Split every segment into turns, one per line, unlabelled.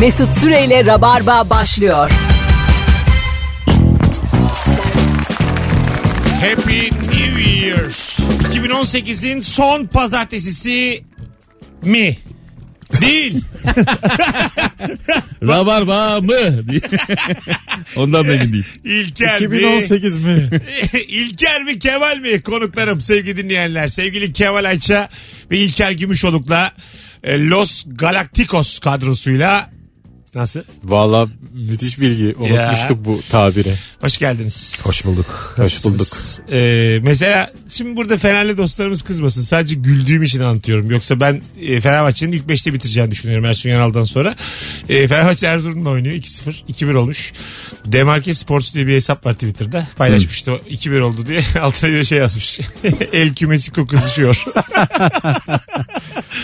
Mesut Süreyle Rabarba başlıyor.
Happy New Year. 2018'in son pazartesisi mi? Değil.
Rabarba mı? diye. Ondan da emin değil.
İlker mi?
2018 mi?
İlker mi Kemal mi? Konuklarım sevgili dinleyenler. Sevgili Kemal Ayça ve İlker Gümüşoluk'la e, Los Galacticos kadrosuyla Nasıl?
Valla müthiş bilgi.
Unutmuştuk
bu tabiri.
Hoş geldiniz.
Hoş bulduk. Hoş
Nasılsınız?
bulduk.
E, mesela şimdi burada Fenerli dostlarımız kızmasın. Sadece güldüğüm için anlatıyorum. Yoksa ben e, Fenerbahçe'nin ilk 5'te bitireceğini düşünüyorum Ersun Yanal'dan sonra. E, Fenerbahçe Erzurum'la oynuyor. 2-0. 2-1 olmuş. Demarke Sports diye bir hesap var Twitter'da. Paylaşmıştı. o 2-1 oldu diye. Altına bir şey yazmış. El kümesi kokuşuyor.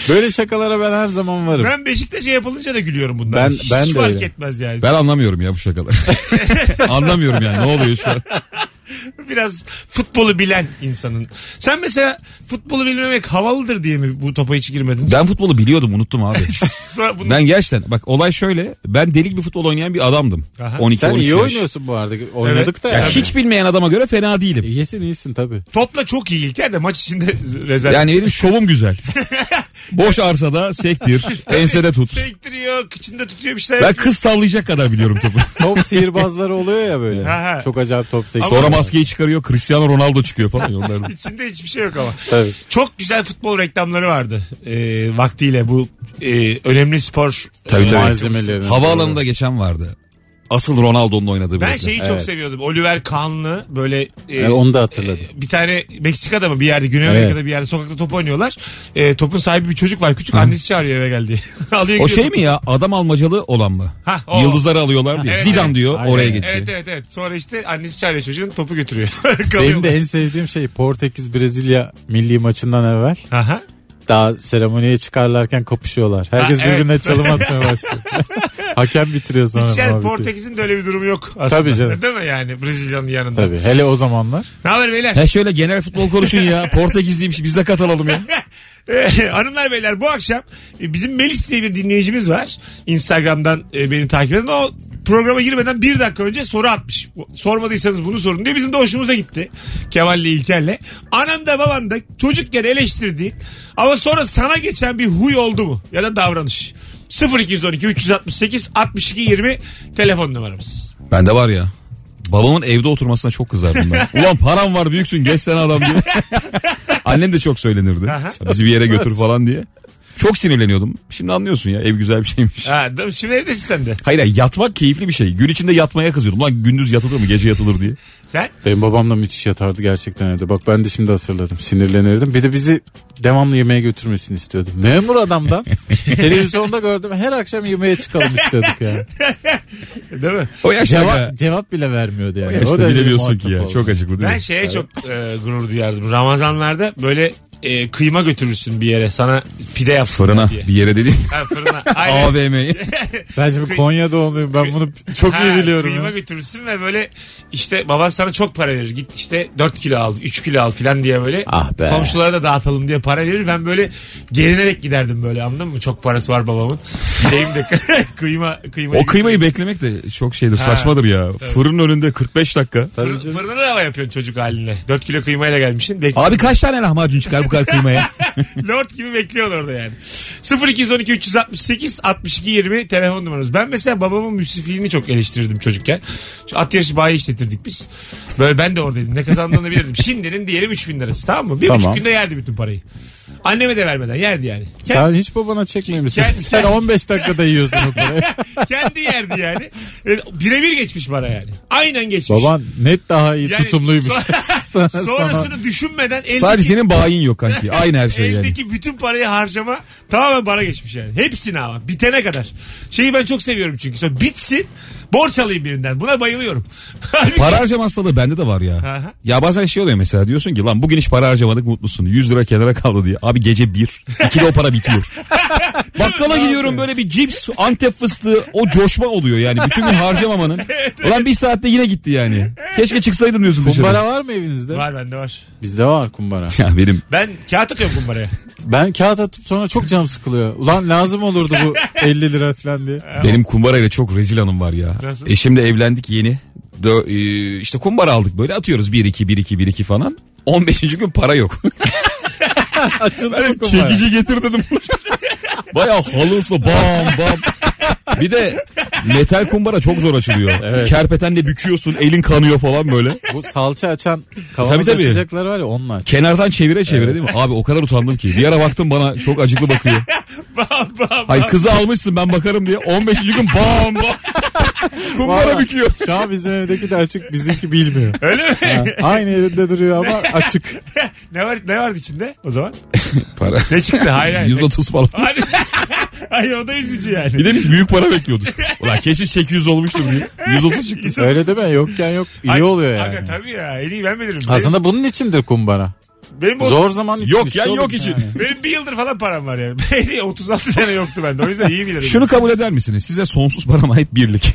Böyle şakalara ben her zaman varım.
ben Beşiktaş'a yapılınca da gülüyorum bundan.
Ben-
Hiç
ben de
fark
öyle.
etmez yani.
Ben anlamıyorum ya bu şakaları. anlamıyorum yani ne oluyor şu an.
Biraz futbolu bilen insanın. Sen mesela futbolu bilmemek havalıdır diye mi bu topa hiç girmedin?
Ben futbolu biliyordum unuttum abi.
Sonra bunu-
Ben gerçekten bak olay şöyle. Ben delik bir futbol oynayan bir adamdım.
Aha.
12
Sen
13
iyi
yaş.
oynuyorsun bu arada. Oynadık da
Ya
yani.
hiç bilmeyen adama göre fena değilim.
İyisin iyisin tabii.
Topla çok iyi İlker de maç içinde rezalet.
Yani benim şovum güzel. Boş arsada sektir, ensede tut.
Sektiriyor, kıçında tutuyor bir şeyler.
Ben kız sallayacak kadar biliyorum topu.
Top sihirbazları oluyor ya böyle.
Ha, ha.
Çok acayip top seçiyor.
Sonra maskeyi çıkarıyor, Cristiano Ronaldo çıkıyor falan. Onlardan.
İçinde hiçbir şey yok ama.
Tabii.
Çok güzel futbol reklamları vardı. Ee, vaktiyle bu e, önemli spor.
Tabii, tabii.
Malzemelerini.
Havaalanında geçen vardı. Asıl Ronaldo'nun oynadığı bir
Ben
reklam.
şeyi çok
Evet.
seviyordum. Oliver Kahn'lı böyle e,
Evet, onu da hatırladım.
e, bir tane Meksika'da mı bir yerde Güney
Evet.
Amerika'da bir yerde sokakta top oynuyorlar. E, topun sahibi bir çocuk var. Küçük annesi çağırıyor eve geldi. Alıyor
O
gidiyor
şey
topu.
mi ya adam almacalı olan mı?
Ha, o.
Yıldızları alıyorlar diye.
Evet,
Zidane
evet.
diyor
Aynen.
oraya geçiyor.
Evet evet evet. Sonra işte annesi çağırıyor çocuğun topu götürüyor.
Benim
Kalıyor.
de en sevdiğim şey Portekiz Brezilya milli maçından evvel
Aha.
daha seremoniye çıkarlarken kapışıyorlar. Herkes
Ha, evet.
birbirine çalım atmaya başlıyor. Hakem bitiriyor sonra.
Hiç yani
muhabbeti.
Portekiz'in de öyle bir durumu yok aslında.
Tabii canım.
Değil mi yani Brezilya'nın yanında?
Tabii hele o zamanlar.
Ne haber beyler?
Ha şöyle genel futbol konuşun ya. Portekizliymiş biz de katılalım ya.
Eh, Hanımlar beyler bu akşam e, bizim Melis diye bir dinleyicimiz var. Instagram'dan e, beni takip eden. O programa girmeden bir dakika önce soru atmış. Bu- Sormadıysanız bunu sorun diye. Bizim de hoşumuza gitti. Kemal'le İlker'le. Anan da baban da çocukken eleştirdiğin ama sonra sana geçen bir huy oldu mu? Ya da davranış. 0212 368 62 20 telefon numaramız.
Bende var ya. Babamın evde oturmasına çok kızardım ben. Ulan param var büyüksün geç sen adam diye. Annem de çok söylenirdi.
Aha.
Bizi bir yere götür falan diye. Çok sinirleniyordum. Şimdi anlıyorsun ya ev güzel bir şeymiş.
Ha, değil mi? şimdi evdesin sen de.
Hayır hayır, yatmak keyifli bir şey. Gün içinde yatmaya kızıyordum. Lan gündüz yatılır mı gece yatılır diye.
Sen?
Benim babam da müthiş yatardı gerçekten evde. Bak ben de şimdi hatırladım. Sinirlenirdim. Bir de bizi devamlı yemeğe götürmesini istiyordum. Memur adamdan. Televizyonda gördüm. Her akşam yemeğe çıkalım istiyorduk ya.
Değil mi?
O yaşlarda.
Cevap, şey cevap bile vermiyordu yani.
Ya işte
derece
bilemiyorsun
muhatap
ki ya.
oldu.
Çok acıklı değil
Ben
mi?
şeye çok e, gurur duyardım. Ramazanlarda böyle e, kıyma götürürsün bir yere. Sana pide yapsınlar
Fırına
diye.
bir yere dediğin
Ha, fırına. Aynen.
AVM'ye.
Ben şimdi Konya doğumluyum. Ben bunu çok iyi
Ha,
biliyorum.
Kıyma
ya.
götürürsün ve böyle işte baban sana çok para verir. Git işte 4 kilo al, 3 kilo al filan diye böyle
Ah be.
komşulara da dağıtalım diye para verir. Ben böyle gerinerek giderdim böyle anladın mı? Çok parası var babamın. Gideyim de kıyma kıyma.
O kıymayı beklemek de çok şeydir saçmadır ya. Fırının önünde 45 dakika.
Fır, fırına da ama yapıyorsun çocuk haline. 4 kilo kıymayla gelmişsin. Bekle.
Abi kaç tane lahmacun çıkar bu kadar kıymaya?
Lord gibi bekliyorsun orada yani. 0212 368 62 20 telefon numaramız. Ben mesela babamın müsrifliğini çok eleştirirdim çocukken. Şu at yarışı bayi işletirdik biz. Böyle ben de oradaydım. Ne kazandığını bilirdim. Şimdinin diyelim 3000 lirası tamam mı? Bir
Tamam.
buçuk günde yerdi bütün parayı. Anneme de vermeden yerdi yani. Kend-
Sen hiç babana çekmemişsin.
Kend-
Sen 15 dakikada yiyorsun o parayı.
kendi yerdi yani. E, Birebir geçmiş bana yani. Aynen geçmiş.
Baban net daha iyi
Yani
tutumluymuş.
so-
Sana- sana-
Sonrasını düşünmeden eldeki,
Sadece senin bayin yok kanki. Aynı her şey yani.
eldeki bütün parayı harcama tamamen bana geçmiş yani. Hepsini ama bitene kadar. Şeyi ben çok seviyorum çünkü. Sonra bitsin borç alayım birinden. Buna bayılıyorum. Halbuki-
Para harcama hastalığı bende de var ya.
Aha.
Ya bazen şey oluyor mesela diyorsun ki lan bugün hiç para harcamadık mutlusun. 100 lira kenara kaldı diye. Abi gece bir. İkide o para bitiyor. Bakkala gidiyorum böyle bir cips, antep fıstığı o coşma oluyor yani. Bütün gün harcamamanın. Ulan bir saatte yine gitti yani. Keşke çıksaydım diyorsun dışarı.
Kumbara var mı evinizde?
Var bende var.
Bizde var kumbara.
Ya benim
Ben kağıt atıyorum kumbaraya.
Ben kağıt atıp sonra çok canım sıkılıyor. Ulan lazım olurdu bu 50 lira falan diye.
benim kumbarayla çok rezil hanım var ya.
Nasıl?
Eşimle evlendik yeni. Dö- e, işte kumbara aldık böyle atıyoruz 1 2 1 2 1 2 falan. 15. gün para yok.
Açıldı bu kumbara.
Çekici getir dedim. Baya halırsla bam bam. Bir de metal kumbara çok zor açılıyor.
Evet.
Kerpetenle büküyorsun elin kanıyor falan böyle.
Bu salça açan kavanoz
Tabii, tabii.
açacaklar var ya onlar.
Kenardan çevire çevire değil mi? Abi o kadar utandım ki. Bir ara baktım bana çok acıklı bakıyor.
bam bam.
Ay kızı almışsın ben bakarım diye. 15. gün bam bam. kumbara
Vallahi
büküyor.
Şu an bizim evdeki de açık bizimki bilmiyor.
Öyle mi?
Ha, aynı yerinde duruyor ama açık.
ne var ne vardı içinde o zaman?
Para.
Ne çıktı? Hayır hayır.
130 falan.
Hadi. Ay o da üzücü yani.
Bir de biz büyük para bekliyorduk. Ulan keşke 800 olmuştur diye. 130 çıktı.
Öyle deme yokken yok iyi
Ay,
oluyor yani.
Aga tabii ya. En iyi ben bilirim.
Aslında bunun içindir kumbara.
benim, benim, o-
Zor zaman için.
Yok
işte
ya,
oğlum
yok için.
benim bir yıldır falan param var yani. Benim 36 sene yoktu bende. O yüzden iyi bilirim.
Şunu kabul eder misiniz? Size sonsuz param ait birlik.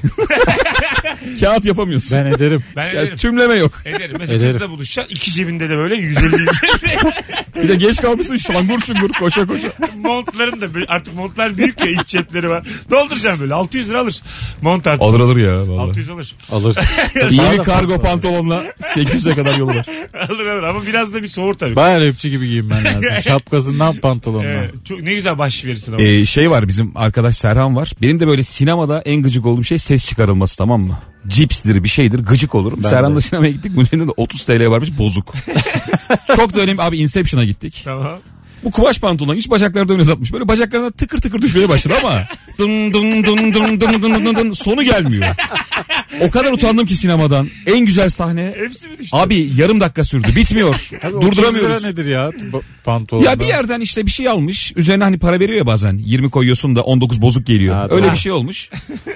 Kağıt yapamıyorsun.
Ben ederim.
Ben
Ya
ederim.
tümleme yok.
Ederim. Mesela
Ederim.
kızla buluşacaksın. İki cebinde de böyle 150
Bir de geç kalmışsın şangur şungur koşa koşa.
montların da böyle- artık montlar büyük ya iç cepleri var. Dolduracağım böyle 600 lira alır. Mont artık.
Alır alır ya vallahi.
600 alır.
Alır.
İyi bir kargo pantolonla 800'e kadar yolu var.
alır alır ama biraz da bir soğur tabii.
Baya rapçi gibi giyinmen lazım. Şapkasından pantolonuna.
Ee, çok, ne güzel baş verirsin ama.
E-
Ee, şey var bizim arkadaş Serhan var. Benim de böyle sinemada en gıcık olduğum şey ses çıkarılması tamam mı? Cipsdir bir şeydir gıcık olurum.
Ben
Serhan'la
de.
sinemaya gittik. Bunun yerine de 30 TL varmış bozuk. Çok da önemli abi Inception'a gittik.
Tamam.
Bu kumaş pantolon hiç bacakları da öne uzatmış. Böyle bacaklarına tıkır tıkır düşmeye başladı ama dın dın dın dın dın dın dın dın sonu gelmiyor. O kadar utandım ki sinemadan. En güzel sahne
Hepsi mi düştü?
Abi yarım dakika sürdü. Bitmiyor.
Abi, 30
Durduramıyoruz.
lira nedir ya bu pantolonda?
Ya bir yerden işte bir şey almış. Üzerine hani para veriyor ya bazen. 20 koyuyorsun da 19 bozuk geliyor.
Ha,
Öyle
doğru.
bir şey olmuş.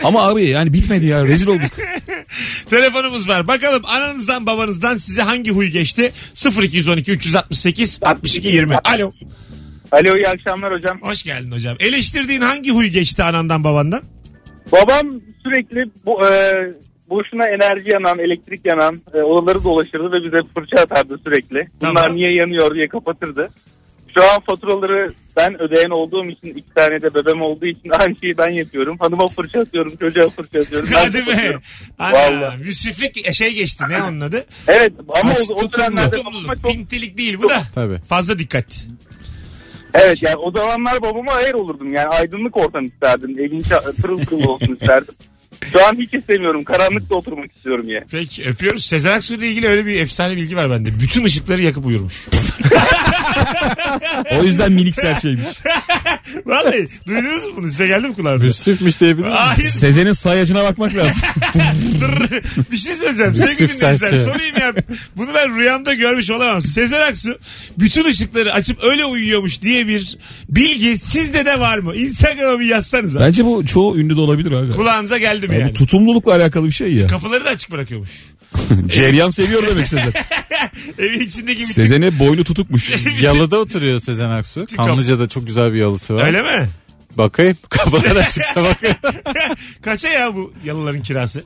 Ama abi yani bitmedi ya. Rezil olduk.
Telefonumuz var. Bakalım ananızdan babanızdan size hangi huy geçti? 0212 368 62 20. Alo.
Alo iyi akşamlar hocam.
Hoş geldin hocam. Eleştirdiğin hangi huy geçti anandan babandan?
Babam sürekli bu, e, boşuna enerji yanan, elektrik yanan e, odaları dolaşırdı ve bize fırça atardı sürekli. Bunlar
Tamam.
niye yanıyor diye kapatırdı. Şu an faturaları ben ödeyen olduğum için iki tane de bebem olduğu için aynı şeyi ben yapıyorum. Hanıma fırça atıyorum, çocuğa fırça atıyorum. Ben
Hadi be.
kapatıyorum.
Ana,
Vallahi.
müsriflik şey geçti ne onun adı?
Evet ama
Nasıl
o, o
tutumlu?
dönemlerde babama
Tutumluluk,
çok...
pintilik değil bu da.
Tabii.
Fazla dikkat.
Evet yani o zamanlar babama hayır olurdum. Yani aydınlık ortam isterdim. Evin ça- pırıl pırıl olsun isterdim. Şu an hiç istemiyorum. Karanlıkta oturmak istiyorum ya.
Peki öpüyoruz. Sezen Aksu ile ilgili öyle bir efsane bilgi var bende. Bütün ışıkları yakıp uyurmuş.
O yüzden minik serçeymiş.
Vallahi duydunuz mu bunu? Size geldi mi kulağınıza?
Müsrifmiş diyebilir miyim?
Hayır.
Sezen'in sayacına bakmak lazım.
Dur. bir şey söyleyeceğim. Sevgili
Müsrif
dinleyiciler
serçe.
sorayım ya. Bunu ben rüyamda görmüş olamam. Sezen Aksu bütün ışıkları açıp öyle uyuyormuş diye bir bilgi sizde de var mı? Instagram'a bir yazsanıza.
Bence bu çoğu ünlü de olabilir abi.
Kulağınıza geldi mi
Ya
yani?
Bu tutumlulukla alakalı bir şey ya.
Kapıları da açık bırakıyormuş.
Ceryan seviyor demek Sezen.
Evin içindeki bütün...
Sezen'e boynu tutukmuş.
Yalıda oturuyor Sezen Aksu. Kanlıca'da çok güzel bir yalısı var.
Öyle mi?
Bakayım. Kafalar açıksa bakayım.
Kaça ya bu yalıların kirası?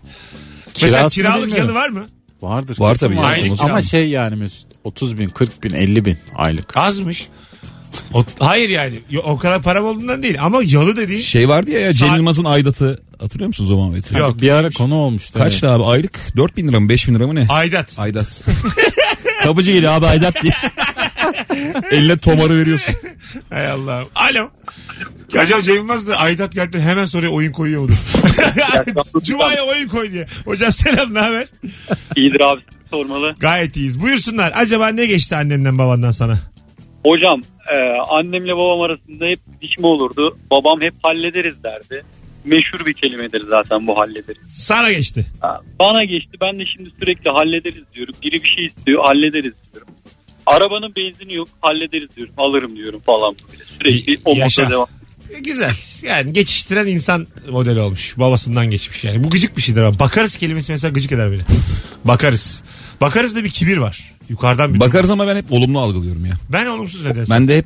Mesela
Kirasını
kiralık
bilmiyorum.
yalı var mı?
Vardır.
Var
kesin
tabii ya,
vardır.
olması
Ama
lazım.
şey yani Mesut 30 bin 40 bin 50 bin aylık.
Azmış. O- hayır yani Yo- o kadar param olduğundan değil ama yalı dediğin
Şey vardı ya, ya Cem
Saat-
Yılmaz'ın aidatı. Hatırlıyor musunuz o muhabbeti?
Yok.
Bir ara konu olmuştu.
Kaçtı abi aylık? 4 bin lira mı 5 bin lira mı ne?
aidat.
Aydat. Kapıcı geliyor abi Aydat diye. Eline tomarı veriyorsun.
Hay Allah. Alo. Acaba Cem Yılmaz da aidat geldi hemen soruyor oyun koyuyor mudur? Cuma'ya oyun koy diye. Hocam selam ne haber?
İyidir abi sormalı.
Gayet iyiyiz. Buyursunlar. Acaba ne geçti annenden babandan sana?
Hocam e, annemle babam arasında hep dişme olurdu. Babam hep hallederiz derdi. Meşhur bir kelimedir zaten bu hallederiz.
Sana geçti.
Ha, Bana geçti ben de şimdi sürekli hallederiz diyorum. Biri bir şey istiyor hallederiz diyorum. Arabanın benzini yok hallederiz diyorum. Alırım diyorum falan böyle. Sürekli o
Yaşa.
moda devam.
E, Güzel. Yani geçiştiren insan modeli olmuş. Babasından geçmiş yani. Bu gıcık bir şeydir ama. Bakarız kelimesi mesela gıcık eder beni. Bakarız. Bakarız da bir kibir var. Yukarıdan bir.
Bakarız ama ben hep olumlu algılıyorum ya.
ben olumsuz nedense.
Ben de hep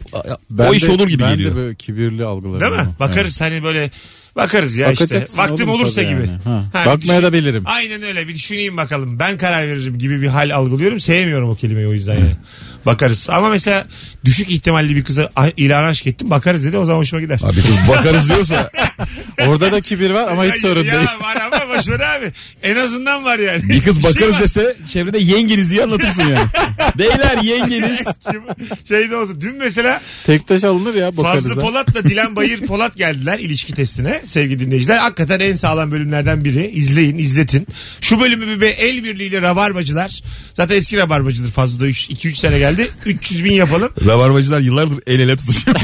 o iş
de-
olur gibi
ben
geliyor.
de böyle kibirli algılarım.
Değil mi?
ama.
Bakarız hani böyle bakarız ya işte.
Bakacaksın
Vaktim
oğlum
olursa
tabii
gibi.
yani. Ha.
Ha,
Bakmaya
bir şey- düşün-
da bilirim.
Aynen öyle bir düşüneyim bakalım. Ben karar veririm gibi bir hal algılıyorum. Sevmiyorum o kelimeyi o yüzden yani. Bakarız. Ama mesela düşük ihtimalli bir kıza a- ilan aşk ettim. Bakarız dedi o zaman hoşuma gider.
Abi kız bakarız diyorsa
Orada da kibir var ama hiç
Ya-
sorun
ya
değil.
var ama boşver abi. En azından var yani.
bir kız
şey
bakarız
var.
dese çevrede yengeniz diye anlatırsın yani. Beyler yengeniz.
Kim- şey de olsun. Dün mesela
Tek taş alınır ya bakarız.
Fazlı
ha.
Polat'la Dilan Bayır Polat geldiler ilişki testine sevgili dinleyiciler. Hakikaten en sağlam bölümlerden biri. İzleyin, izletin. Şu bölümü bir be- el birliğiyle rabarbacılar. Zaten eski rabarbacıdır Fazlı da 2-3 sene geldi. 300 bin yapalım.
Rabarbacılar yıllardır el ele tutuşuyor.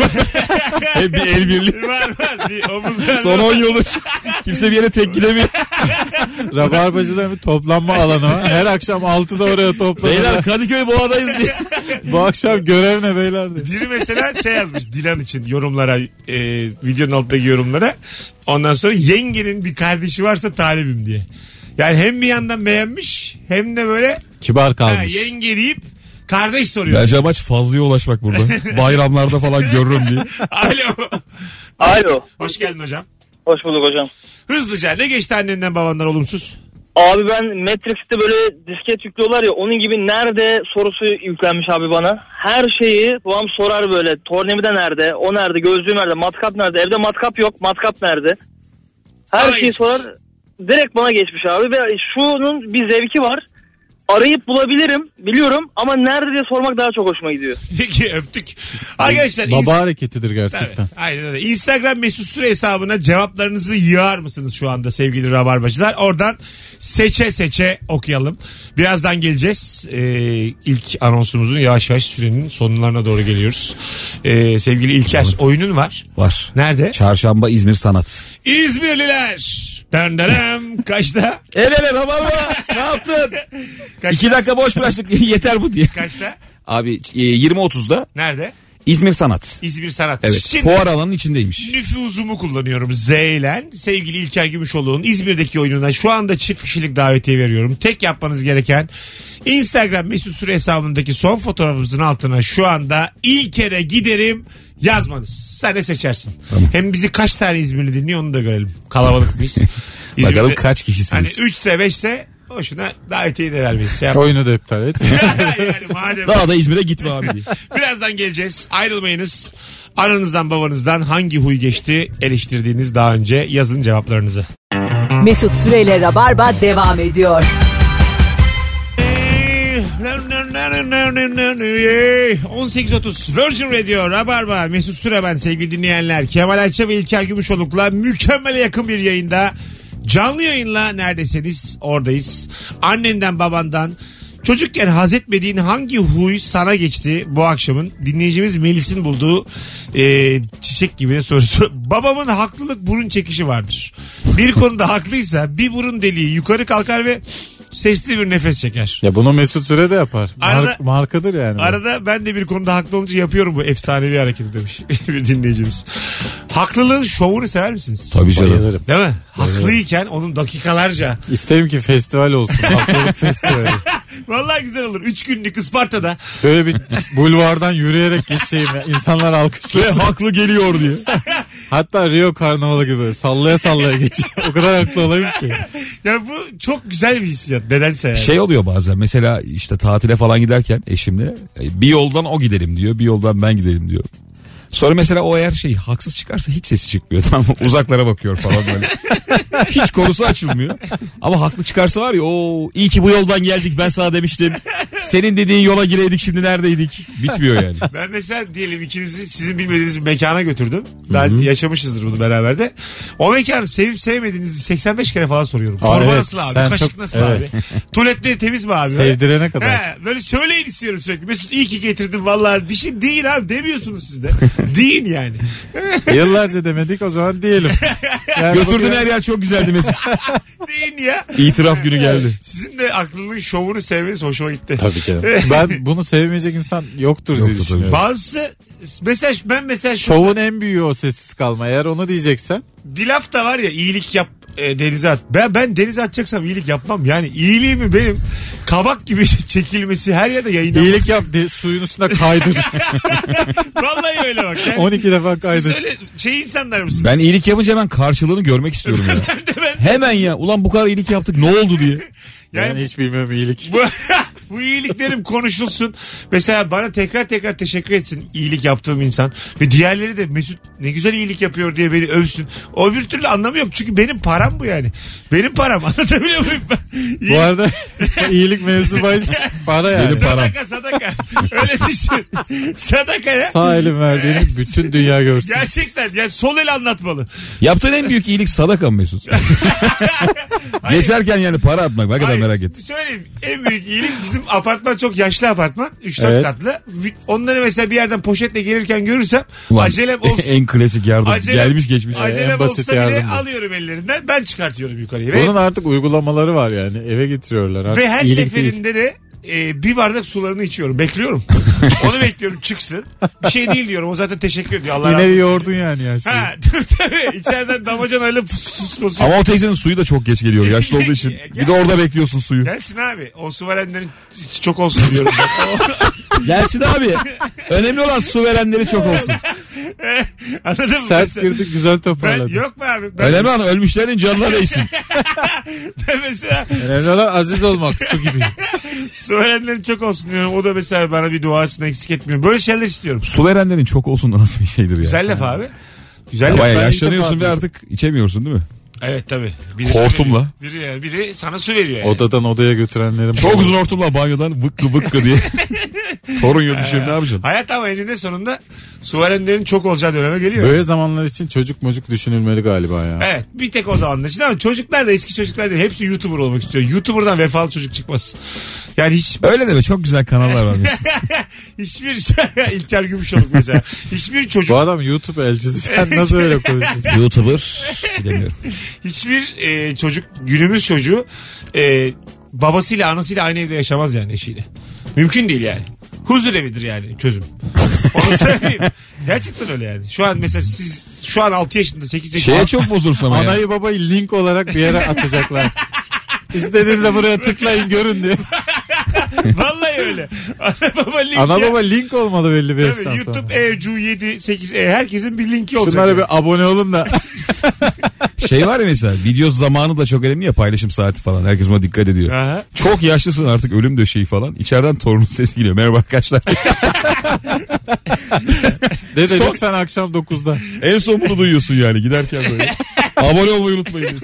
Hep bir el birliği.
var var. Bir omuzlar.
Son 10 yıldır kimse bir yere tek gidemiyor.
Rabarbacı'da bir toplanma alanı var. Her akşam 6'da oraya
Beyler
toplanırlar.
Kadıköy Boğa'dayız diye.
Bu akşam görev ne beyler diye.
Biri mesela şey yazmış Dilan için yorumlara e, videonun altındaki yorumlara. Ondan sonra yengenin bir kardeşi varsa talibim diye. Yani hem bir yandan beğenmiş hem de böyle
Kibar
ha,
kalmış.
yenge deyip kardeş soruyor.
Bence amaç fazlaya ulaşmak burada. Bayramlarda falan görürüm diye.
Alo.
Alo.
Hoş geldin hocam.
Hoş bulduk hocam.
Hızlıca ne geçti annenden babandan olumsuz?
Abi ben Matrix'te böyle disket yüklüyorlar ya onun gibi nerede sorusu yüklenmiş abi bana. Her şeyi babam sorar böyle tornavida nerede, o nerede, gözlüğü nerede, matkap nerede, evde matkap yok, matkap nerede. Her
Sana
şeyi
geçmiş.
sorar direkt bana geçmiş abi ve şunun bir zevki var. Arayıp bulabilirim biliyorum ama nerede diye sormak daha çok hoşuma gidiyor.
Peki öptük. Arkadaşlar
Baba
ins-
hareketidir
Tabii,
gerçekten.
aynen öyle. Instagram mesut süre hesabına cevaplarınızı yığar mısınız şu anda sevgili rabarbacılar? Oradan seçe seçe okuyalım. Birazdan geleceğiz. Ee, ilk anonsumuzun yavaş yavaş sürenin sonlarına doğru geliyoruz. Ee, sevgili İlker oyunun var.
Var.
Nerede?
Çarşamba İzmir Sanat.
İzmirliler. Dandaram. Kaçta?
El ele Rabarba ne yaptın?
Kaçta?
İki dakika boş bıraktık yeter bu diye.
Kaçta?
Abi e, 20.30'da
Nerede?
İzmir Sanat.
İzmir Sanat.
Evet.
Şimdi-
Fuar alanının içindeymiş.
nüfuzumu kullanıyorum Z ile. Sevgili İlker Gümüşoğlu'nun İzmir'deki oyununa şu anda çift kişilik davetiye veriyorum. Tek yapmanız gereken Instagram mesut süre hesabındaki son fotoğrafımızın altına şu anda İlker'e giderim yazmanız. Sen de seçersin. Hem bizi kaç tane İzmirli dinliyor onu da görelim. Kalabalık biz. İzmir'de-
Bakalım kaç
Hani
kişisiniz.
3'se 5'se hoşuna davetiye de vermeyiz. Şey yapma.
Oyunu da iptal et.
yani madem
Daha da İzmir'e gitme abi diye.
Birazdan geleceğiz. Ayrılmayınız. Ananızdan babanızdan hangi huy geçti eleştirdiğiniz daha önce yazın cevaplarınızı.
Mesut Süreyle Rabarba devam ediyor.
Eee, 18.30 Virgin Radio Rabarba Mesut Süre ben sevgili dinleyenler Kemal Ayça ve İlker Gümüşoluk'la mükemmele yakın bir yayında canlı yayınla neredesiniz oradayız annenden babandan çocukken haz etmediğin hangi huy sana geçti bu akşamın dinleyicimiz Melis'in bulduğu e, çiçek gibi de sorusu babamın haklılık burun çekişi vardır bir konuda haklıysa bir burun deliği yukarı kalkar ve sesli bir nefes çeker
ya bunu Mesut Süre de yapar. Mar-
Arada-
markadır yani. bu.
Arada ben de bir konuda haklı olunca yapıyorum bu efsanevi hareketi demiş bir dinleyicimiz. Haklılığın şovunu sever misiniz?
Tabii canım.
Bayılırım.
Değil mi? Haklıyken onun dakikalarca.
İsterim ki festival olsun. Haklılık festivali.
Vallahi güzel olur. Üç günlük Isparta'da.
Böyle bir bulvardan yürüyerek geçeyim ya. İnsanlar alkışlıyor.
Ve haklı geliyor diye.
Hatta Rio Karnavalı gibi böyle sallaya sallaya geçeyim. O kadar haklı olayım ki.
Ya bu çok güzel bir hissiyat. Nedense yani.
Şey oluyor bazen mesela işte tatile falan giderken eşimle e, bir yoldan o gidelim diyor bir yoldan ben gidelim diyor. Sonra mesela o eğer şey haksız çıkarsa hiç sesi çıkmıyor tamam mı? Uzaklara bakıyor falan böyle. hiç konusu açılmıyor. Ama haklı çıkarsa var ya o iyi ki bu yoldan geldik ben sana demiştim. Senin dediğin yola gireydik şimdi neredeydik? Bitmiyor yani.
Ben mesela diyelim ikinizi sizin bilmediğiniz bir mekana götürdüm. Ben yaşamışızdır bunu beraber de. O mekanı sevip sevmediğinizi 85 kere falan soruyorum.
Aa,
Çorba
evet.
nasıl abi?
Sen
Kaşık
çok-
nasıl
evet.
abi? Tuvaletleri temiz mi abi?
Sevdirene kadar.
He, böyle söyleyin istiyorum sürekli. Mesut iyi ki getirdin vallahi. Bir şey değil abi demiyorsunuz siz de. Deyin yani.
Yıllarca demedik o zaman diyelim. Yani
Götürdün
bugün-
her yer çok güzeldi Mesut.
Deyin ya.
İtiraf günü geldi.
Sizin de aklının şovunu sevmeniz hoşuma gitti.
Tabii canım. Ben bunu sevmeyecek insan yoktur, diye
Yoktur tabii.
düşünüyorum.
Bazısı mesela ben mesela şu
Şovun en büyüğü o sessiz kalma. Eğer onu diyeceksen
bir laf da var ya iyilik yap e, denize at. Ben, ben denize atacaksam iyilik yapmam. Yani iyiliğimi benim kabak gibi çekilmesi her yerde yayınlanması.
İyilik yap diye suyun üstüne kaydır.
Vallahi öyle bak. Yani
12 defa
siz
kaydır.
öyle şey insanlar mısınız?
Ben iyilik yapınca hemen karşılığını görmek istiyorum ya. Hemen ya. Ulan bu kadar iyilik yaptık ne oldu diye.
Ben
Yani
hiç bilmiyorum iyilik.
bu, bu iyiliklerim konuşulsun. Mesela bana tekrar tekrar teşekkür etsin iyilik yaptığım insan. Ve diğerleri de Mesut ne güzel iyilik yapıyor diye beni övsün. O bir türlü anlamı yok. Çünkü benim param bu yani. Benim param. Anlatabiliyor muyum ben?
Bu arada iyilik mevzu bahis para yani.
Benim param.
Sadaka sadaka. Öyle düşün. Sadaka ya.
Sağ elin verdiğini bütün dünya görsün.
Gerçekten yani sol el anlatmalı.
Yaptığın en büyük iyilik sadaka mı Mesut. Geçerken yani para atmak. Ne kadar
Hayır,
merak ettim.
Söyleyeyim en büyük iyilik bizim apartman çok yaşlı apartman. 3-4
Evet.
katlı. Onları mesela bir yerden poşetle gelirken görürsem
Ulan,
acelem olsun.
en klasik yardım.
Acele-
Gelmiş geçmiş.
Acelem
Ee, en basit
olsa bile
yardım bu.
alıyorum ellerinden. Ben çıkartıyorum yukarıya. Ve,
Bunun artık uygulamaları var yani. Eve getiriyorlar. Artık
ve her
iyilik değil.
seferinde de e, bir bardak sularını içiyorum. Bekliyorum. Onu bekliyorum çıksın. Bir şey değil diyorum. O zaten teşekkür ediyor. Allah razı
Yine
olsun.
yordun yani ya. şeyi.
Ha, tabii tabii. İçeriden damacanayla susması.
Ama o teyzenin suyu da çok geç geliyor yaşlı olduğu için. Bir de orada bekliyorsun suyu.
Gelsin abi. O suverenlerin ç- çok olsun diyorum.
Gelsin abi. Önemli olan su verenleri çok olsun.
Anladın mı?
Sert
Mesela-
girdik güzel
Ben,
toparladık.
yok mu abi? Ben,
Önemli olan ölmüşlerin canına değsin.
ben mesela
Önemli olan aziz olmak su gibi.
suverenlerin çok olsun diyorum. O da mesela bana bir duasını eksik etmiyor. Böyle şeyler istiyorum.
Su verenlerin çok olsun da nasıl bir şeydir ya.
Güzel laf abi. Güzel
Ya
laf.
Bayağı
Ben
yaşlanıyorsun
ilk
ve
defa
artık içemiyorsun değil mi?
Evet tabii. Biri
Hortumla.
Biri, biri, biri sana su veriyor yani.
Odadan odaya götürenlerim.
Çok uzun hortumla banyodan vıkkı vıkkı diye. Torun yok bir şey, ne yapacaksın?
Hayat ama eninde sonunda suverenlerin çok olacağı döneme geliyor.
Böyle zamanlar için çocuk mocuk düşünülmeli galiba ya.
Evet bir tek o zamanlar için ama çocuklar da eski çocuklar da hepsi YouTuber olmak istiyor. YouTuber'dan vefalı çocuk çıkmaz. Yani hiç
Öyle deme çok güzel kanallar var. Mesut.
hiçbir şey İlker Gümüşoluk mesela. Hiçbir çocuk
Bu adam YouTube elçisi. Sen nasıl öyle konuşuyorsun?
YouTuber bilemiyorum.
hiçbir e, çocuk günümüz çocuğu e, babasıyla anasıyla aynı evde yaşamaz yani eşiyle. Mümkün değil yani. Huzur evidir yani çözüm. Onu söyleyeyim. Gerçekten öyle yani. Şu an mesela siz şu an 6 yaşında 8 yaşında.
Şeye çok bozulursun ama ya.
Anayı babayı link olarak bir yere atacaklar. İstediğinizde buraya tıklayın görün diye.
Vallahi öyle. Ana baba linki.
Ana baba link olmalı belli bir
Tabii,
yaştan sonra.
YouTube E, ECU 7 8 E herkesin bir linki olacak.
Şunlara
yani.
bir abone olun da.
Şey var ya mesela video zamanı da çok önemli ya paylaşım saati falan. Herkes buna dikkat ediyor.
Aha.
Çok yaşlısın artık ölüm döşeği falan. İçeriden torunun sesi geliyor. Merhaba arkadaşlar.
Dede lütfen akşam 9'da.
en son bunu duyuyorsun yani giderken böyle. Abone olmayı unutmayın.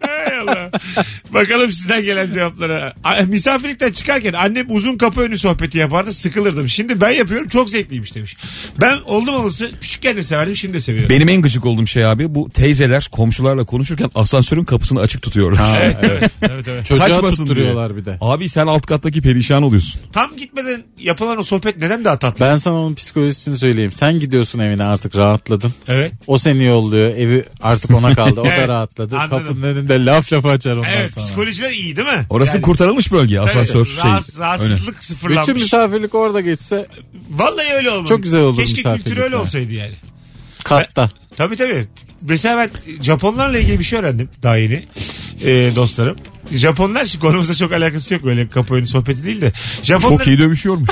Hay Allah. Bakalım sizden gelen cevaplara. A- Misafirlikten çıkarken annem uzun kapı önü sohbeti yapardı sıkılırdım. Şimdi ben yapıyorum çok zevkliymiş demiş. Ben oldum olası küçükken de severdim şimdi de seviyorum.
Benim en gıcık olduğum şey abi bu teyzeler komşularla konuşurken asansörün kapısını açık tutuyorlar.
Evet, evet, evet, evet.
Çocuğa
Kaçmasın
tutturuyorlar bir de.
Abi sen alt kattaki perişan oluyorsun.
Tam gitmeden yapılan o sohbet neden daha tatlı?
Ben sana onun psikolojisini söyleyeyim. Sen gidiyorsun evine artık rahatladın.
Evet.
O seni yolluyor. Evi artık ona kaldı. O
Evet,
da rahatladı.
anladım.
Kapının önünde laf lafı açar ondan
Evet
sonra.
psikolojiler iyi değil mi?
Orası
Yani-
kurtarılmış bölge
Tabii,
asansör şey.
rahatsız-
öyle.
rahatsızlık sıfırlanmış.
Bütün misafirlik orada geçse
Vallahi öyle olmadı.
Çok güzel oldu
Keşke kültürü
misafirlikler.
öyle olsaydı yani.
katta.
Tabii tabii. Mesela ben Japonlarla ilgili bir şey öğrendim daha yeni Ee, dostlarım. Japonlar şimdi konumuzda çok alakası yok böyle kapı önü sohbeti değil de. Japonlar
Çok iyi dövüşüyormuş.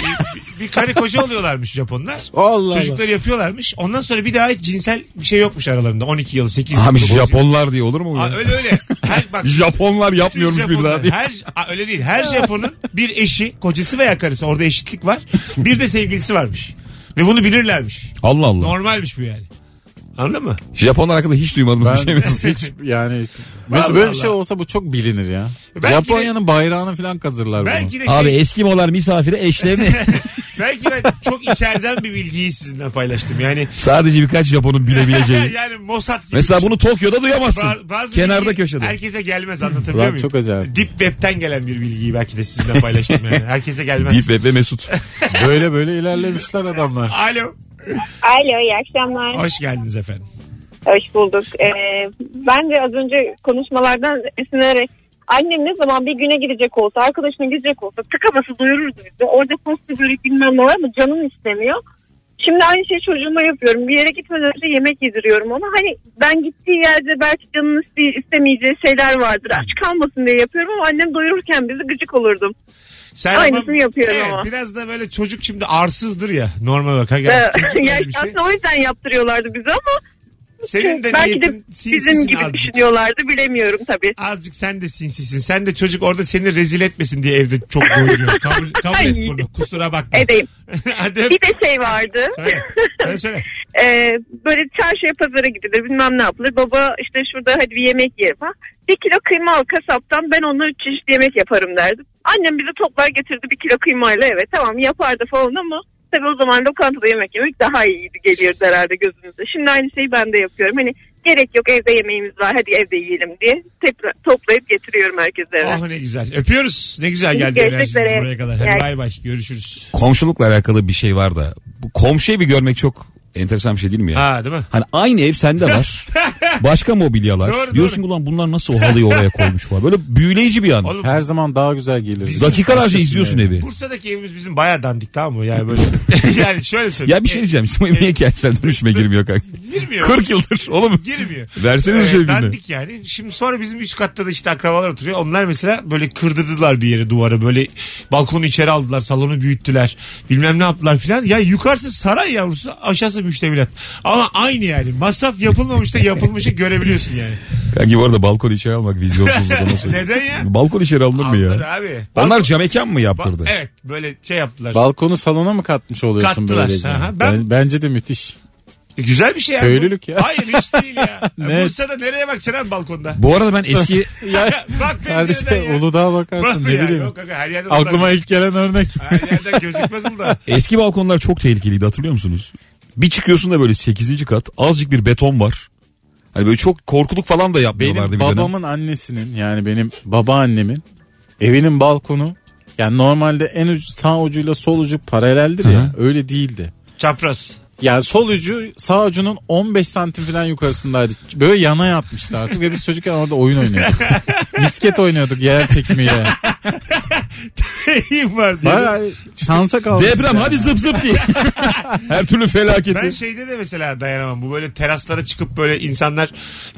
bir karı koca oluyorlarmış Japonlar.
Allah Allah.
Çocukları yapıyorlarmış. Ondan sonra bir daha hiç cinsel bir şey yokmuş aralarında. 12 yıl, 8 yıl.
abi
dokuz yıl.
Japonlar diye olur mu bu?
Aa,
ya?
öyle öyle. Her, bak,
Japonlar
bütün
yapmıyormuş bir
Japonlar-
daha diye.
Her, Aa, öyle değil. Her Japon'un bir eşi, kocası veya karısı orada eşitlik var. Bir de sevgilisi varmış. Ve bunu bilirlermiş.
Allah Allah.
Normalmiş bu yani. Anladın mı?
Japonlar hakkında hiç duymadığımız
Ben
bir şey mi?
hiç yani
Vallahi
mesela böyle bir
Allah.
şey olsa bu çok bilinir ya.
Belki
Japonya'nın bayrağını falan kazırlar
Belki de şey-
Abi Eskimolar misafire eşlerini.
Belki ben çok içeriden bir bilgiyi sizinle paylaştım. Yani
Sadece birkaç Japon'un bilebileceği.
yani Mossad gibi.
Şey,
şey-
Mesela bunu Tokyo'da duyamazsın.
Ba- bazı
Kenarda
bilgi
köşede.
Herkese gelmez anlatabiliyor
Ulan
muyum?
çok acayip.
Deep Web'ten gelen bir bilgiyi belki de sizinle paylaştım yani. Herkese gelmez.
Deep Web ve Mesut.
bunu. Böyle böyle ilerlemişler adamlar.
Alo.
Alo iyi akşamlar.
Hoş geldiniz efendim.
Hoş bulduk. Ee, ben de az önce konuşmalardan esinlenerek annem ne zaman bir güne gidecek olsa arkadaşına gidecek olsa tıkaması duyururdu bizi. Orada pasta börek bilmem ne var mı canın istemiyor. Şimdi aynı şeyi çocuğuma yapıyorum. Bir yere gitmeden önce yemek yediriyorum ona. Hani ben gittiği yerde belki canının iste- istemeyeceği şeyler vardır. Aç kalmasın diye yapıyorum ama annem doyururken bizi gıcık olurdum.
Sen
Aynısını yapıyorum
evet,
ama.
Biraz da böyle çocuk şimdi arsızdır ya normal bak. Ha,
Ee,
gerçi çocuk
yani
öyle bir şey.
aslında o yüzden yaptırıyorlardı bize ama
Senin de
belki de
niyetin
bizim
sinsisin
gibi
azıcık.
düşünüyorlardı bilemiyorum tabii.
Azıcık sen de sinsisin. Sen de çocuk orada seni rezil etmesin diye evde çok doyuruyor. kabul, kabul et
Ay.
bunu. Kusura bakma.
Edeyim.
Hadi öp.
Bir de şey vardı.
Söyle. Söyle söyle.
Ee, böyle çarşıya pazara gidilir bilmem ne yapılır. Baba işte şurada hadi bir yemek yiyelim ha. Bir kilo kıyma al kasaptan ben ona üç çeşit yemek yaparım derdim. Annem bize toplar getirdi bir kilo kıymayla evet tamam yapardı falan ama tabii o zaman lokantada yemek yemek daha iyiydi geliyordu herhalde gözümüze. Şimdi aynı şeyi ben de yapıyorum hani gerek yok evde yemeğimiz var hadi evde yiyelim diye tekrar toplayıp getiriyorum herkese eve.
Oh ne güzel. Öpüyoruz. Ne güzel geldi
Görüşmek
enerjiniz
üzere.
buraya kadar. Hadi
Yani-
bay bay. Görüşürüz.
Komşulukla alakalı bir şey var da. Bu komşuyu bir görmek çok enteresan bir şey değil mi ya?
Ha değil mi?
Hani aynı ev sende var. Başka mobilyalar.
Doğru,
Diyorsun ki ulan bunlar nasıl o halıyı oraya koymuş falan. Böyle büyüleyici bir an.
Oğlum
Her zaman daha güzel gelir.
Biz-
Dakikalarca şey izliyorsun
Yani.
evi.
Bursa'daki evimiz bizim bayağı dandik tamam mı? Yani böyle. yani şöyle söyleyeyim.
Ya bir şey diyeceğim. Sizin bu ev niye kentsel dönüşüme girmiyor kanka?
Girmiyor.
40 yıldır oğlum.
Girmiyor.
Verseniz şöyle birini.
dandik yani. Şimdi sonra bizim üst katta da işte akrabalar oturuyor. Onlar mesela böyle kırdırdılar bir yeri duvara. Böyle balkonu içeri aldılar. Salonu büyüttüler. Bilmem ne yaptılar filan. Ya yukarısı saray yavrusu aşağısı müştemilat. Ama aynı yani. Masraf yapılmamış da yapılmışı görebiliyorsun yani.
Kanki bu arada balkon içeri almak vizyonsuzluk nasıl?
Neden ya?
Balkon içeri alınır mı
Aldılar
ya?
abi.
Onlar cam mekan mı
Ba-
yaptırdı?
Evet böyle şey yaptılar.
Balkonu salona mı katmış oluyorsun
Kattılar.
böylece?
Aha, ben-
Ben... Bence de müthiş.
E, güzel bir şey. yani bu.
Köylülük ya.
Hayır hiç değil ya.
Ne?
Bursa'da nereye bakacaksın abi balkonda?
Bu arada ben eski
ya
Bak pencereden
kardeşim
ya.
Uludağ'a
Bak
bakarsın ne
ya,
bileyim.
Yok, kanka, her yerden
Aklıma ilk gelen örnek.
Her yerden gözükmez burada.
eski balkonlar çok tehlikeliydi hatırlıyor musunuz? Bir çıkıyorsun da böyle 8. kat azıcık bir beton var. Hani böyle çok korkuluk falan da yapmıyorlardı
Benim
bir dönem.
babamın annesinin yani benim babaannemin evinin balkonu yani normalde en ucu, sağ ucuyla sol ucu paraleldir ya
Hı
öyle değildi.
Çapraz.
Yani sol ucu sağ ucunun 15 santim falan yukarısındaydı. Böyle yana yatmıştı artık ve biz çocukken orada oyun oynuyorduk. Misket oynuyorduk yer tekmiyle.
İyiyim var diye.
Bayağı şansa kaldık.
Deprem hadi zıp zıp diye. Her türlü felaketi.
Ben şeyde de mesela dayanamam. Bu böyle teraslara çıkıp böyle insanlar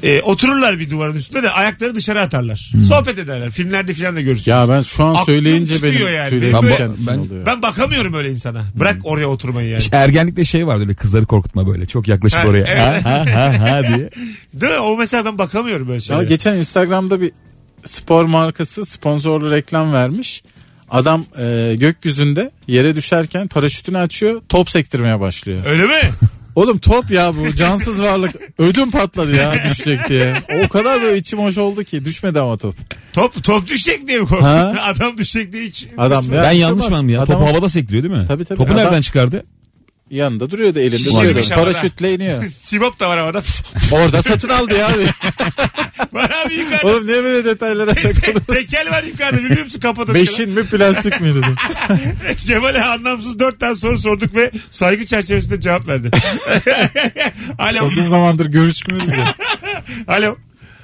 e, otururlar bir duvarın üstünde de ayakları dışarı atarlar. Sohbet ederler. Filmlerde filan da görürsün.
Hmm. Ya ben şu an
Aklım
söyleyince
çıkıyor
benim
yani.
tüylerim
Ben bu-
diken diken
ben-
oluyor.
Ben bakamıyorum öyle insana. Bırak
Hmm.
oraya oturmayı yani.
Ergenlikte şey vardı öyle kızları korkutma böyle çok yaklaşıp
Ha,
oraya.
evet.
Ha, ha, ha, ha diye.
Değil mi? O mesela ben bakamıyorum böyle
Ya
şeylere.
geçen Instagram'da bir spor markası sponsorlu reklam vermiş. Adam e, gökyüzünde yere düşerken paraşütünü açıyor top sektirmeye başlıyor.
Öyle mi?
Oğlum top ya bu cansız varlık ödüm patladı ya düşecek diye. O kadar böyle içim hoş oldu ki düşmedi ama top.
Top top düşecek diye mi korktun?
Ha?
Adam düşecek diye hiç.
Adam ya,
Ben
düşürmez.
yanlış mıyım ya?
Adam
Topu havada sekliyor değil mi?
Tabii, tabii.
Topu
Adam-
nereden çıkardı?
yanında duruyordu elinde
Şişirmiş
duruyordu.
havada.
Paraşütle iniyor.
şey- Sibop da var havada.
Orada satın aldı ya.
var abi yukarıda.
Oğlum niye böyle detaylara takıldın?
Tekel var yukarıda biliyor musun kapatın.
Beşin mi plastik mi dedi.
Kemal'e anlamsız dört tane soru sorduk ve saygı çerçevesinde cevap verdi. Alo.
Uzun zamandır görüşmüyoruz ya.
Alo.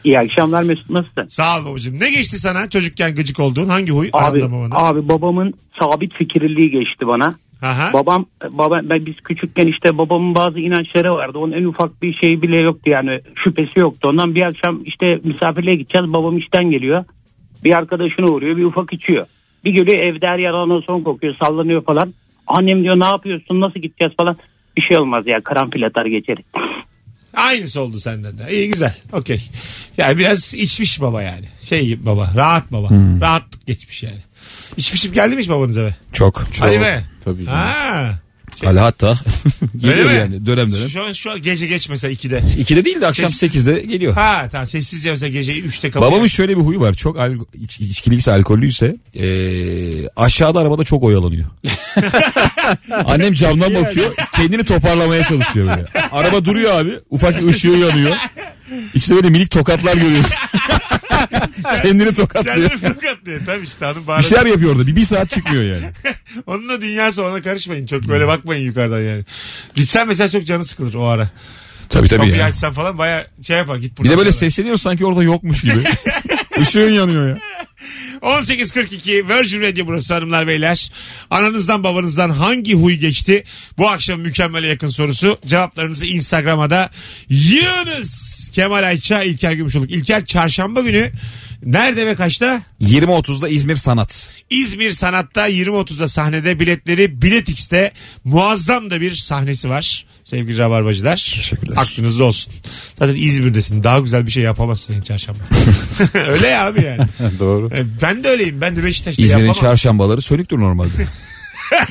İyi akşamlar Mesut nasılsın?
Sağ ol babacığım. Ne geçti sana çocukken gıcık olduğun? Hangi huy?
Abi,
Aranda babanda.
abi babamın sabit fikirliliği geçti bana.
Aha.
Babam baba ben biz küçükken işte babamın bazı inançları vardı. Onun en ufak bir şeyi bile yoktu yani şüphesi yoktu. Ondan bir akşam işte misafirliğe gideceğiz. Babam işten geliyor. Bir arkadaşına uğruyor, bir ufak içiyor. Bir geliyor evde her yer anason kokuyor, sallanıyor falan. Annem diyor ne yapıyorsun, nasıl gideceğiz falan. Bir şey olmaz ya karanfil atar geçeriz.
Aynısı oldu senden de. İyi güzel. Okey. Yani biraz içmiş baba yani. Şey gibi baba. Rahat baba.
Hmm.
Rahatlık geçmiş yani. İçmişim geldi mi hiç babanız eve?
Çok. çok.
Hadi be.
Tabii canım.
Ha.
Hala hatta geliyor
mi?
yani dönem dönem.
Şu an, şu an gece geç mesela 2'de.
İkide değil de akşam
Ses-
8'de geliyor.
Ha tamam sessizce mesela gece 3'te kapı.
Babamın şöyle bir huyu var. Çok al- iç- içkiliyse, alkollüyse eee, aşağıda arabada çok oyalanıyor. Annem camdan bakıyor. Kendini toparlamaya çalışıyor böyle. Araba duruyor abi. Ufak bir ışığı yanıyor. İşte böyle minik tokatlar görüyorsun. kendini tokatlıyor.
Kendini tokatlıyor. Tabii işte hanım
Bir şey-
bağırıyor.
şeyler yapıyor orada. Bir, bir saat çıkmıyor yani.
Onunla dünyası ona karışmayın. Çok böyle bakmayın yukarıdan yani. Gitsen mesela çok canı sıkılır o ara.
Tabii tabii
Kapıyı
ya.
açsan falan baya şey yapar git buradan.
Bir de böyle
sonra.
sesleniyor sanki orada yokmuş gibi. Işığın yanıyor ya.
18.42 Virgin Radio burası hanımlar beyler. Ananızdan babanızdan hangi huy geçti? Bu akşam mükemmele yakın sorusu. Cevaplarınızı Instagram'a da yığınız. Kemal Ayça, İlker Gümüşoluk. İlker çarşamba günü nerede ve kaçta?
20.30'da İzmir Sanat.
İzmir Sanat'ta 20.30'da sahnede biletleri Bilet X'te muazzam da bir sahnesi var. Sevgili Rabarbacılar.
Teşekkürler.
Aklınızda olsun. Zaten İzmir'desin. Daha güzel bir şey yapamazsın çarşamba. Öyle ya abi yani.
Doğru.
E, Ben de öyleyim. Ben de Beşiktaş'ta
İzmir'in
yapamam.
çarşambaları sönüktür normalde.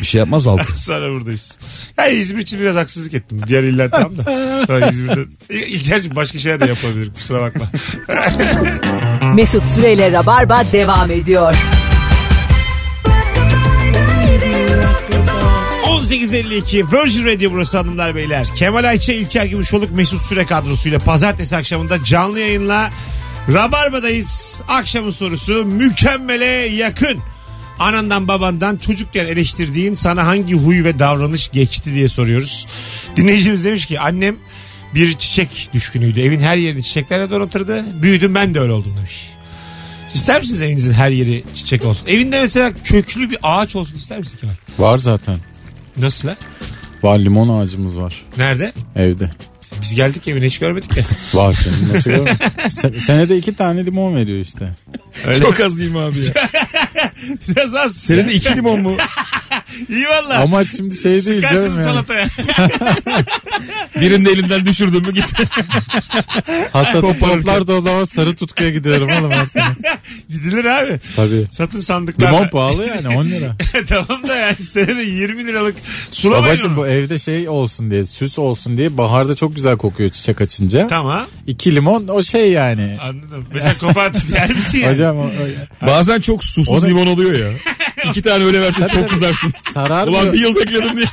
bir şey yapmaz halk.
Sonra buradayız. Ya İzmir için biraz haksızlık ettim. Diğer iller tamam da. Tabii İzmir'de. İlker'cim başka şeyler de yapabilirim. Kusura bakma.
Mesut Süreyle Rabarba devam ediyor.
18.52 Virgin Radio burası hanımlar beyler. Kemal Ayça, İlker Gümüşoluk, Mesut Süre kadrosuyla pazartesi akşamında canlı yayınla Rabarba'dayız. Akşamın sorusu mükemmele yakın. Anandan babandan çocukken eleştirdiğin sana hangi huy ve davranış geçti diye soruyoruz. Dinleyicimiz demiş ki annem bir çiçek düşkünüydü. Evin her yerini çiçeklerle donatırdı. Büyüdüm ben de öyle oldum demiş. İster misiniz evinizin her yeri çiçek olsun? Evinde mesela köklü bir ağaç olsun ister misin Kemal?
Var zaten.
Nasıl lan?
Var limon ağacımız var
Nerede?
evde.
Biz geldik evine hiç görmedik ya.
Var şimdi nasıl görmüyor musun? Se- Senede iki tane limon veriyor işte.
Öyle.
Çok az değil mi abi ya?
Biraz az.
Senin de iki limon mu?
İyi valla.
Ama şimdi şey değil
Sıkarsın
canım yani.
salataya.
Birini de elimden düşürdün mü git.
Hasat toplar dolaba sarı tutkuya gidiyorum oğlum her sene.
Gidilir abi.
Tabii.
Satın sandıklarda.
Limon pahalı yani 10 lira.
tamam da yani senede 20 liralık sulamayın
Babacım
onu.
bu evde şey olsun diye süs olsun diye baharda çok güzel kokuyor çiçek açınca.
Tamam
İki limon o şey yani.
anladım. Mesela kopartıp yer misin yani?
Hocam o- o-
Bazen çok susuz
O da-
limon oluyor ya. İki tane öyle versin çok kızarsın. Ulan
sararmıyor,
bir yıl bekledim diye.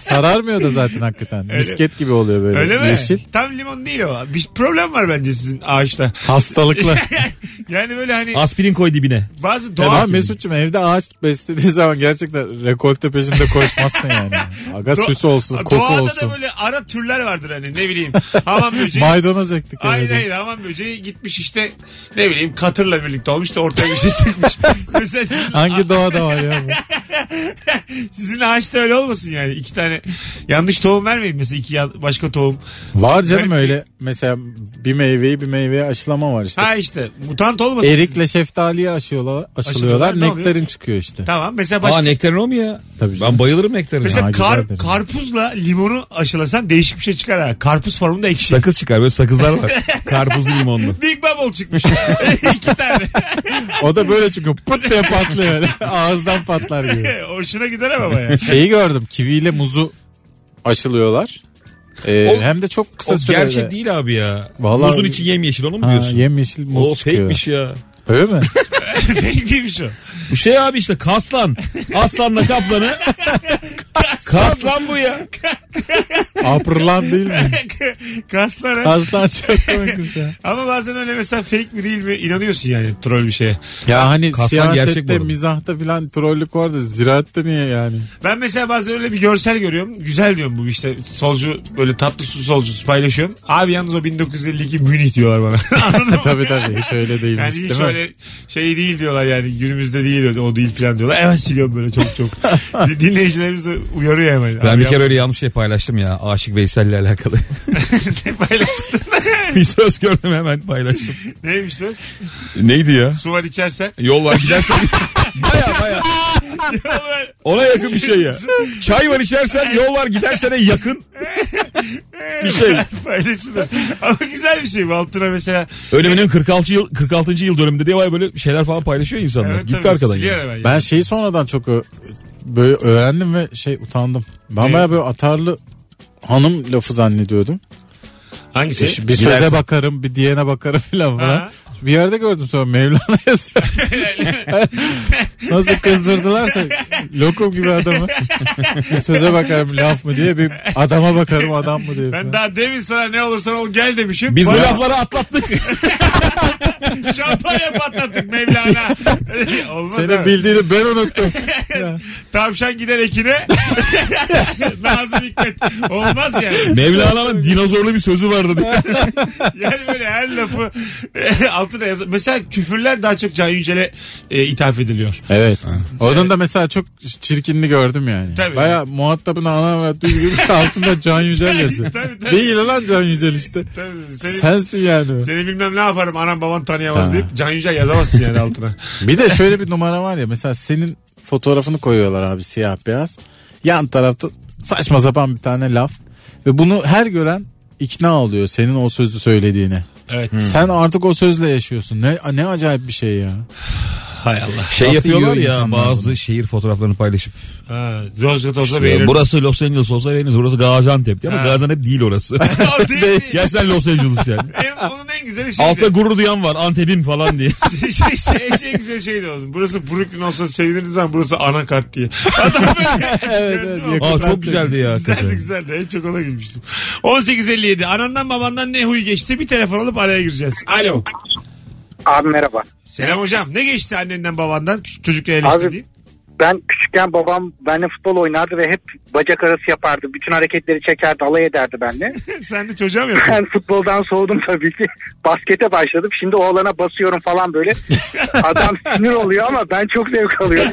sararmıyor da zaten hakikaten.
Öyle.
Misket gibi oluyor böyle.
Öyle mi?
Yeşil.
Tam limon değil o. Bir problem var bence sizin ağaçta.
Hastalıklı.
Yani böyle hani
Aspirin koy dibine.
bazı
Ya
doğa
ben Mesut'cum evde ağaç beslediği zaman gerçekten rekolte peşinde koşmazsın yani. Aga
Do-
süs olsun, koku
Doğada
olsun.
da böyle ara türler vardır hani ne bileyim. Hamam böceği
Maydanoz ektik
Aynen
evde.
hayır hamam böceği gitmiş işte ne bileyim katırla birlikte olmuş da ortaya bir şey çıkmış. Mesela sizin,
Hangi doğada var ya bu?
sizin ağaçta öyle olmasın yani. iki tane yanlış tohum vermeyin mesela iki yan- başka tohum.
Var canım öyle mesela bir meyveyi bir meyveye aşılama var işte.
Ha işte mutant olmasın.
Erikle şeftaliye aşıyorlar, aşılıyorlar.
Aşılıyorlar, ne
Nektarin
oluyor?
çıkıyor işte.
Tamam mesela başka.
Aa nektarin o mu ya?
Tabii
Ben
canım.
bayılırım nektarine.
Mesela
Ha, güzel
kar-
dedim.
karpuzla limonu aşılasan değişik bir şey çıkar ha. Karpuz formunda ekşi.
Sakız çıkar böyle sakızlar var. Karpuzlu limonlu.
Big Bubble çıkmış. İki tane.
O da böyle çıkıyor. Pıt diye patlıyor. öyle. Ağızdan patlar gibi.
Hoşuna gider ama ya.
Şeyi gördüm. Kiviyle muzu aşılıyorlar. Ee,
O-
hem de çok kısa
o
sürede.
gerçek değil abi ya.
Vallahi-
Muzun içi yemyeşil onu mu
Ha,
diyorsun?
yemyeşil muz
o
çıkıyor.
fake'miş ya.
Öyle mi?
Fake değilmiş o.
Bu şey abi işte kaslan. Aslanla kaplanı. kaslan bu ya.
Aprılan değil mi?
Kaslar ha.
Aslan çok komik ya.
Ama bazen öyle mesela fake mi değil mi inanıyorsun yani troll bir şeye.
Ya hani
Kaslan gerçek bu
siyasette,
arada.
mizahta filan trollük vardı. Ziraatte niye yani?
Ben mesela bazen öyle bir görsel görüyorum. Güzel diyorum bu işte solcu böyle tatlı su solcusu paylaşıyorum. Abi yalnız o 1952 Münih diyorlar bana. Anladın mı?
tabii tabii hiç öyle değilmiş
Yani
değil
hiç
mi?
öyle şey değil diyorlar yani günümüzde değil o değil falan diyorlar. Hemen siliyorum böyle çok çok. Dinleyicilerimiz de uyarıyor hemen.
Ben
Abi
bir kere öyle yanlış şey paylaştım ya. Aşık Veysel'le alakalı.
yapma, paylaştın.
bir söz gördüm hemen paylaştım.
Neymiş söz?
Neydi ya?
Su var içersen.
Yol var gidersen. baya baya. Ona yakın bir şey ya. Çay var içersen yol var gidersene yakın. bir şey.
Paylaşılır. Ama güzel bir şey bu altına mesela.
Ölümünün 46 yıl 46. yıl dönümünde diye vay böyle şeyler falan paylaşıyor insanlar.
Evet,
Gitti
tabii,
arkadan
siliyor
ya.
hemen yani.
Ben şeyi sonradan çok ö- böyle öğrendim ve şey utandım. Ben
Ne?
bayağı böyle atarlı hanım lafı zannediyordum.
Hangisi?
İşte bir
Gidersin.
söze bakarım, bir diyene bakarım filan
Ha.
falan. Bir yerde gördüm sonra Mevlana yazıyor. Nasıl kızdırdılarsa lokum gibi adamı. bir söze bakarım laf mı diye bir adama bakarım adam mı diye.
Ben
falan.
daha demin sana ne olursan ol gel demişim.
Biz bu
Bana
lafları atlattık.
şampanya patlattık Mevlana. Olmaz
Senin
abi.
bildiğini ben unuttum.
Tavşan gider ekine. Nazım Hikmet. Olmaz yani.
Mevlana'nın dinozorlu bir sözü vardı diye.
Yani böyle her lafı altına yaz. Mesela küfürler daha çok Can Yücel'e e, ithaf ediliyor.
evet. Onun da mesela çok çirkinli gördüm yani.
Tabii.
Baya muhatabına ana verdiği gibi şey. altında Can Yücel yazıyor.
Tabii, tabii.
Değil lan Can Yücel işte.
Tabii, seni,
Sensin yani.
seni bilmem ne yaparım anam baban tanıyamaz
Ha.
deyip Can Yücel yazamazsın yani altına.
Bir de şöyle bir numara var ya mesela senin fotoğrafını koyuyorlar abi siyah beyaz. Yan tarafta saçma sapan bir tane laf ve bunu her gören ikna oluyor senin o sözü söylediğine.
Evet.
Sen artık o sözle yaşıyorsun. Ne ne acayip bir şey ya.
Hay Allah.
Şey
Nasıl
yapıyorlar
yiyor
ya
insanlar
bazı
bunu?
şehir fotoğraflarını paylaşıp.
Ha, Rozgat olsa
Ya
beğenirim.
burası Los Angeles olsa beğeniriz. Burası Gaziantep diye ama
Ha.
Gaziantep değil orası.
Aa, değil mi?
Gerçekten Los Angeles yani.
En- onun E, en güzeli şeydi.
Altta gurur duyan var Antep'in falan diye.
şey, şey, şey, şey en güzel şeydi oğlum. Burası Brooklyn olsa sevinirdiniz ama burası anakart diye. Adam böyle.
Evet,
Gördün
evet,
mü?
yakın.
Aa çok güzeldi ya. hakikaten.
Güzeldi güzeldi. En çok ona gülmüştüm. 18.57. Anandan babandan ne huy geçti? Bir telefon alıp araya gireceğiz. Alo.
Abi merhaba.
Selam hocam. Ne geçti annenden babandan? Küçük çocukla
Abi-
eleştirdiğin.
Ben küçükken babam benimle futbol oynardı ve hep bacak arası yapardı. Bütün hareketleri çekerdi, alay ederdi benimle.
Sen de çocuğa mı yapıyorsun?
Ben futboldan soğudum tabii ki. Baskete başladım. Şimdi oğlana basıyorum falan böyle. Adam sinir oluyor ama ben çok zevk alıyorum.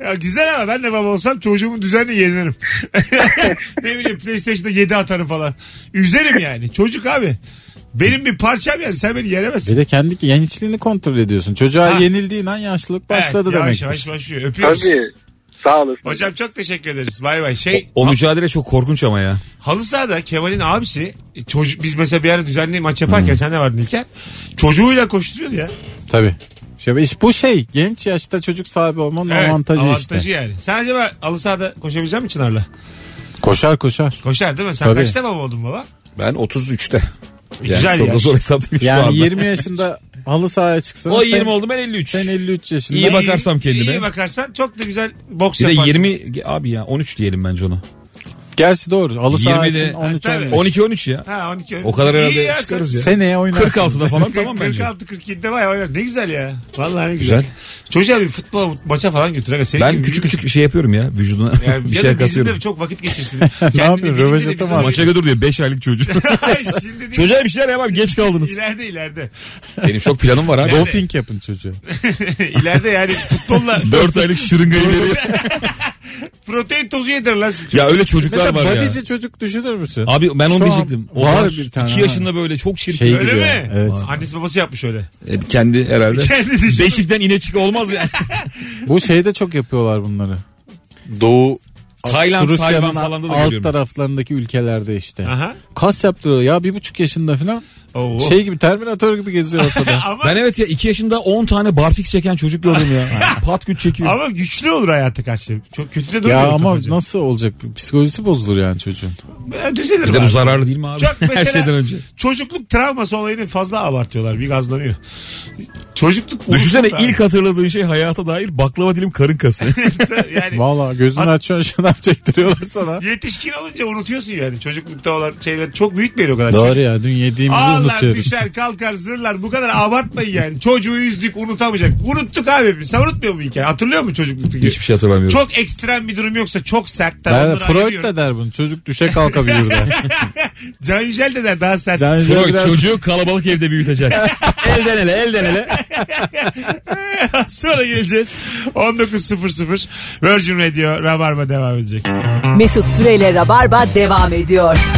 Ya güzel ama ben de baba olsam çocuğumun düzenini yenirim. ne bileyim PlayStation'da 7 atarım falan. Üzerim yani. Çocuk abi. Benim bir parçam yani. Sen beni yenemezsin.
Bir de kendi gençliğini kontrol ediyorsun. Çocuğa
Ha.
yenildiğin an yaşlılık başladı
evet, Yavaş
demek.
yavaş başlıyor. Öpüyoruz.
tabii. Sağ olasın.
Hocam çok teşekkür ederiz. Bay bay. Şey
O mücadele çok korkunç ama ya.
halı sahada Kemal'in abisi e, çocuk biz mesela bir ara düzenli maç yaparken sen de vardın İlker. Çocuğuyla koşturuyordu ya.
Tabii. Şey- işte bu şey genç yaşta çocuk sahibi olmanın
Evet,
avantajı, işte.
yani. Sen acaba halı sahada koşabilecek misin Çınar'la?
Koşar koşar.
Koşar değil mi? Sen
Tabii.
kaçta baba oldun baba?
Ben 33'te. Yani
E, Güzel
çok
yaş.
da zor hesap değil şu
Yani
anda.
20 yaşında halı sahaya çıksan
o
sen-
20 oldu ben 53.
Sen 53 yaşında.
İyi bakarsam
İyi, iyi
kendime.
bakarsan çok da güzel boks
Bir de
yaparsın.
20 abi ya 13 diyelim bence ona.
Gerçi doğru. Halı saha
20'de
için 13
Ha, tabii.
15.
12 13 ya.
Ha 12.
O kadar
İyi
herhalde
ya,
çıkarız ya.
Seneye oynarsın.
46'da falan tamam bence.
46 47'de bayağı oynar. Ne güzel ya. Vallahi ne güzel.
Güzel.
Çocuğa bir futbol maça falan götür. aga. Senin
Ben
gibi
küçük
büyük-
küçük şey yapıyorum ya vücuduna
Yani
bir
ya da bizim
şey
de
katıyorum.
çok vakit geçirsin.
yapıyorsun? Röveşata mı
var.
Maça götür diyor 5 aylık çocuğu.
Şimdi değil.
Çocuğa bir şeyler yapalım geç kaldınız.
İleride ileride.
Benim çok planım var abi.
Doping yapın çocuğa.
ileride yani futbolla
4 aylık şırıngayı veriyor.
protein tozu yedir lan.
ya öyle çocuklar
Mesela
var ya.
bodyci çocuk düşünür müsün?
Abi ben onu
Şu an
diyecektim. O
var bir tane.
2
ha.
yaşında böyle çok çirkin.
Şey
Öyle
gibi.
mi?
Evet.
Annesi babası yapmış öyle.
E, kendi herhalde.
Kendi şey- düşünün.
Beşikten ineçik olmaz yani.
Bu şeyde çok yapıyorlar bunları. Doğu
Tayland,
Rusya'nın
Tayvan falan da da
alt
görüyorum.
taraflarındaki ülkelerde işte.
Aha.
Kas yaptırıyor ya bir buçuk yaşında falan.
Oo.
Şey gibi Terminator gibi geziyor ortada.
ama,
Ben evet ya 2 yaşında 10 tane barfix çeken çocuk gördüm ya. Pat güç çekiyor.
ama güçlü olur hayata karşı. Çok kötü de durmuyor.
ya ama
kafaca.
nasıl olacak? Psikolojisi bozulur yani çocuğun.
Ben Düzelir
Bir de bu
abi.
zararlı değil mi abi?
Çok mesela-
Her şeyden önce.
Çocukluk travması olayını fazla abartıyorlar. Bir gazlanıyor. Çocukluk
Düşünsene
unutulur abi.
ilk hatırladığın şey hayata dair baklava dilim karın kası.
yani
Valla gözünü açıyorsun şınav çektiriyorlar sana.
yetişkin olunca unutuyorsun yani. Çocuklukta olan şeyler çok büyütmeyin o kadar.
Doğru ya dün yediğimizi
Ağlar
unutuyoruz.
düşer kalkar zırlar bu kadar abartmayın yani. Çocuğu üzdük unutamayacak. Unuttuk abi sen unutmuyor musun hikaye? Hatırlıyor musun çocukluktaki?
Hiçbir şey hatırlamıyorum.
Çok ekstrem bir durum yoksa çok sert. Tamam,
Der,
onları
Freud
ayırıyorum.
da der bunu. Çocuk düşe kalkabilir der.
Can Yücel de der daha sert.
Can Yücel
Freud
biraz
çocuğu kalabalık evde büyütecek. elden ele elden ele.
Sonra geleceğiz. 19.00 Virgin Radio Rabarba devam edecek.
Mesut Süreyle Rabarba devam ediyor.